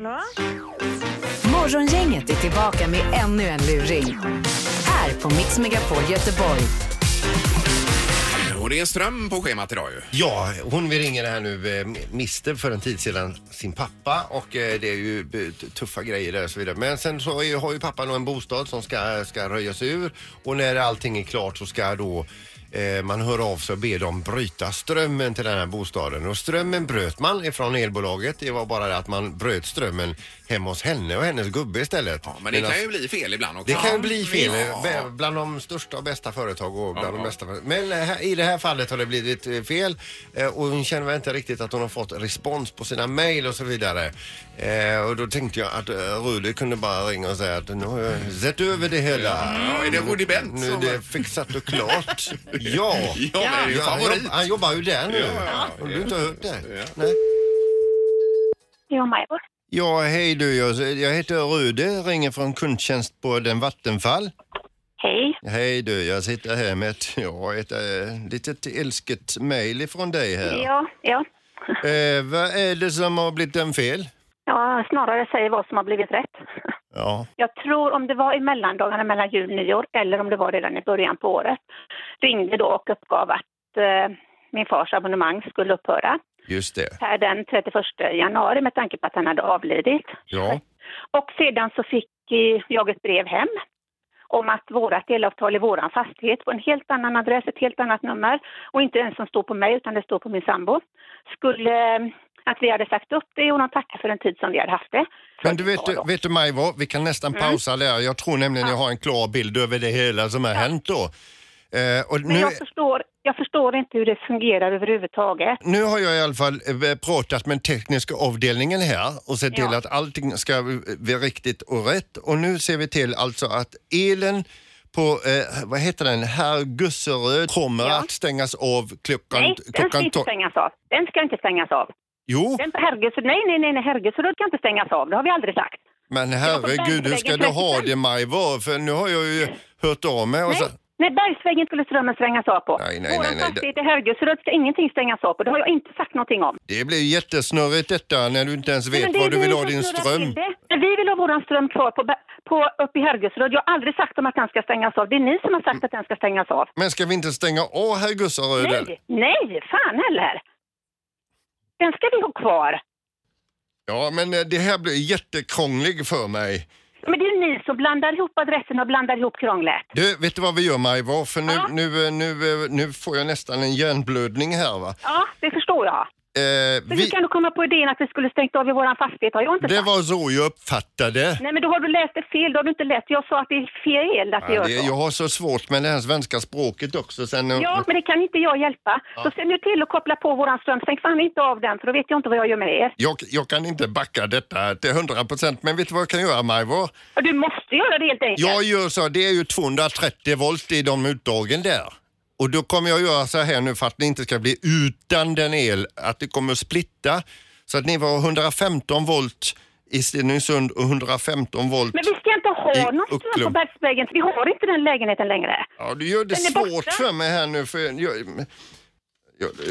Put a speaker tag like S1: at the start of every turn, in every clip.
S1: va?
S2: Morgongänget är tillbaka med ännu en luring. Här på Mix Megapol Göteborg.
S3: Och det är ström på schemat idag ju.
S4: Ja, hon vi ringer här nu eh, miste för en tid sedan sin pappa och eh, det är ju b- t- tuffa grejer där och så vidare. Men sen så är, har ju pappan då en bostad som ska, ska röjas ur och när allting är klart så ska då eh, man hör av sig och ber dem bryta strömmen till den här bostaden. Och strömmen bröt man ifrån elbolaget. Det var bara det att man bröt strömmen hemma hos henne och hennes gubbe istället.
S3: Ja, men det
S4: Medan-
S3: kan ju bli fel ibland också.
S4: det kan ju bli fel.
S3: Ja.
S4: eh, Bland de största och bästa företag och bland de bästa. företag. Men eh, här- i det här fallet har det blivit eh, fel eh, och hon känner väl inte riktigt att hon har fått respons på sina mejl och så vidare. Eh, Och då tänkte jag att eh, Rudi kunde bara ringa och säga att nu har jag sett över det hela.
S3: Ja, är det Woody Bent
S4: Nu är
S3: som-
S4: det fixat och klart.
S3: Ja,
S4: Ja.
S3: men det är ju
S4: Ja, han,
S3: favorit.
S4: jobb, han jobbar ju där nu.
S3: Ja, ja, ja.
S4: Har du inte hört det?
S3: Ja.
S4: Nej.
S1: Ja, Majvor.
S4: Ja, hej du. Jag jag heter Rudi, ringer från kundtjänst på den Vattenfall.
S1: Hej.
S4: Hej du, jag sitter här med ett, ja, ett äh, litet älsket mejl ifrån dig här.
S1: Ja, ja.
S4: Eh, vad är det som har blivit en fel?
S1: Ja, snarare säger vad som har blivit rätt.
S4: Ja,
S1: Jag tror om det var i mellandagarna mellan jul och nyår eller om det var redan i början på året ringde då och uppgav att eh, min fars abonnemang skulle upphöra
S4: just det.
S1: per den 31 januari med tanke på att han hade avlidit.
S4: Ja,
S1: Och sedan så fick eh, jag ett brev hem om att vårat elavtal i våran fastighet på en helt annan adress, ett helt annat nummer och inte ens som står på mig utan det står på min sambo, skulle eh, att vi hade sagt upp det och de tackar för den tid som vi hade haft det.
S4: men du vet, du- vet du Majvor, vi kan nästan
S1: Mm.
S4: pausa där. Jag tror nämligen jag har en klar bild över det hela som har hänt då. Eh, och
S1: Men
S4: nu,
S1: jag förstår, jag förstår inte hur det fungerar överhuvudtaget.
S4: nu har jag i alla fall eh, pratat med tekniska avdelningen här och sett till
S1: Ja.
S4: att allting ska eh, vara riktigt och rätt. Och nu ser vi till alltså att elen på, eh, vad heter den, herr Gusseröd kommer
S1: Ja.
S4: att stängas av klockan...
S1: Nej, den ska
S4: klockan
S1: inte
S4: tolv.
S1: stängas av. Den ska inte stängas av.
S4: Jo,
S1: Den, herregud, så- nej, nej, nej, nej, herregud, så den ska inte stängas av. Det har vi aldrig sagt.
S4: men
S1: var på
S4: herregud hur ska du ha
S1: Bergsvägen
S4: det Majvor? För nu har jag ju hört av mig och
S1: Nej,
S4: så...
S1: nej Bergsvägen skulle strömmen svängas av på.
S4: Alltså- Nej, nej,
S1: Vår
S4: nej, nej.
S1: fastighet i Herrgudseröd ska ingenting stängas av på. Det har jag inte sagt någonting om.
S4: Det blir jättesnurrigt detta när du inte ens
S1: Nej,
S4: vet
S1: men det är
S4: var du
S1: vi
S4: vill ha
S1: som
S4: din
S1: snurrar
S4: ström.
S1: till det. Men Vi vill ha våran ström kvar på, Ber- på, uppe i Herrgudseröd. Jag har aldrig sagt om att den ska stängas av. Det är ni som har sagt att den ska stängas av.
S4: Men ska vi inte stänga av herr Gusseröd? eller?
S1: Nej, nej, fan heller. Den ska vi ha kvar.
S4: Ja, men eh, det här blir jättekrånglig för mig.
S1: Men det är ju ni som blandar ihop adressen och blandar ihop krånglet.
S4: Du, vet du vad vi gör Majvor? För nu,
S1: Ja.
S4: nu, eh, nu, eh, nu får jag nästan en hjärnblödning här va.
S1: Ja, det förstår jag.
S4: Eh,
S1: Men
S4: vi,
S1: hur kan du komma på idén att vi skulle stängt av i våran fastighet? Har jag inte
S4: det
S1: sagt.
S4: var så jag uppfattade.
S1: Nej, men då har du läst det fel. Då har du inte läst. Jag sa att det är fel att
S4: Ja,
S1: vi gör
S4: det,
S1: så.
S4: jag har så svårt med det här svenska språket också. Sen,
S1: Ja, men det kan inte jag hjälpa. Så se nu till att koppla på våran ström. Stäng fan inte av den, för då vet jag inte vad jag gör med er.
S4: jag, jag kan inte backa detta till 100 procent, men vet du vad jag kan göra Majvor?
S1: Och Du måste göra det helt enkelt.
S4: Jag gör så, det är ju 230 volt i de utdragen där. Och då kommer jag göra så här nu för att ni inte ska bli utan den el, att det kommer att splitta. Så att ni var 115 volt i Stenungsund och 115 volt.
S1: Men vi ska inte ha
S4: I
S1: någon ström på
S4: Ucklum.
S1: Bergsvägen. Vi har inte den lägenheten längre.
S4: Ja, du gör det
S1: Den är
S4: svårt
S1: borta.
S4: för mig här nu för jag, jag,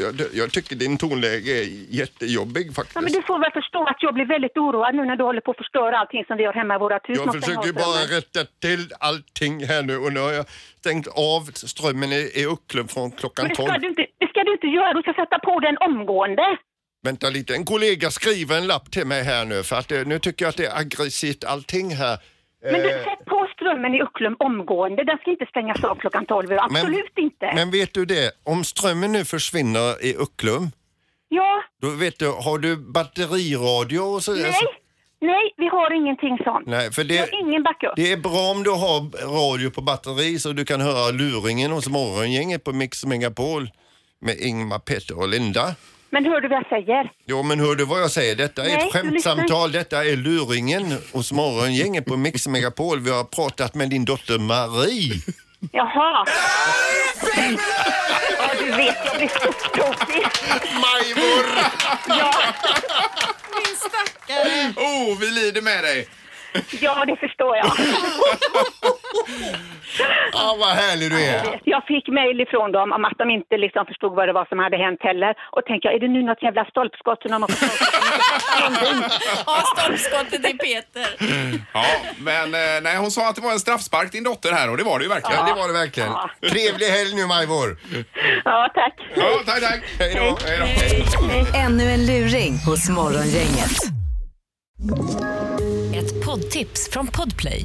S4: jag, jag tycker din tonläge är jättejobbig faktiskt.
S1: Ja, men du får väl förstå att jag blir väldigt oroad nu när du håller på att förstöra allting som vi har hemma i våra hus.
S4: Jag
S1: Måste
S4: försöker
S1: ha
S4: ju bara
S1: strömmen.
S4: rätta till allting här nu och nu har jag stängt av strömmen i, i Ucklum från
S1: Men
S4: klockan
S1: det
S4: 12.
S1: ska, du inte, det ska du inte göra. Du ska sätta på den omgående.
S4: Vänta lite, en kollega skriver en lapp till mig här nu för att eh, nu tycker jag att det är aggressivt allting här.
S1: Men du,
S4: Eh,
S1: sätt på strömmen i Ucklum omgående. Den ska inte stängas av klockan 12. Absolut inte.
S4: Men vet du det, om strömmen nu försvinner i Ucklum,
S1: Ja,
S4: då vet du, har du batteriradio och så?
S1: nej, nej, vi har ingenting sånt.
S4: Alltså- Nej, för
S1: Vi
S4: det,
S1: har ingen backup.
S4: det är bra om du har radio på batteri så du kan höra luringen hos morgongänget på Mix Megapol med Ingmar, Petter och Linda.
S1: Men hör du vad jag säger?
S4: Jo men hör du vad jag säger, detta är
S1: Nej,
S4: ett
S1: du lyssnar
S4: skämtsamtal, detta är luringen hos morgongänget på Mix Megapol. Vi har pratat med din dotter Marie.
S1: Jaha. ja, du vet, jag blir så tokig.
S3: Majvor!
S1: Ja,
S3: Oh, vi lider med dig.
S1: ja, det förstår jag.
S4: Ja, vad härlig du är.
S1: Jag fick mejl ifrån dem om att de inte liksom förstod vad det var som hade hänt heller. Och tänkte jag, är det nu något jävla stolpskott som de har fått
S5: Ja, stolpskottet i Peter.
S3: Ja, men eh, nej, hon sa att det var en straffspark din dotter här och det var det ju verkligen.
S4: Ja, det var det verkligen.
S1: Ja.
S4: Trevlig helg nu, Majvor.
S1: Ja, tack.
S3: Ja, tack, tack.
S4: Hej då.
S3: Hej då. Hej.
S2: Ännu en luring hos Morgongänget. Ett poddtips från Podplay.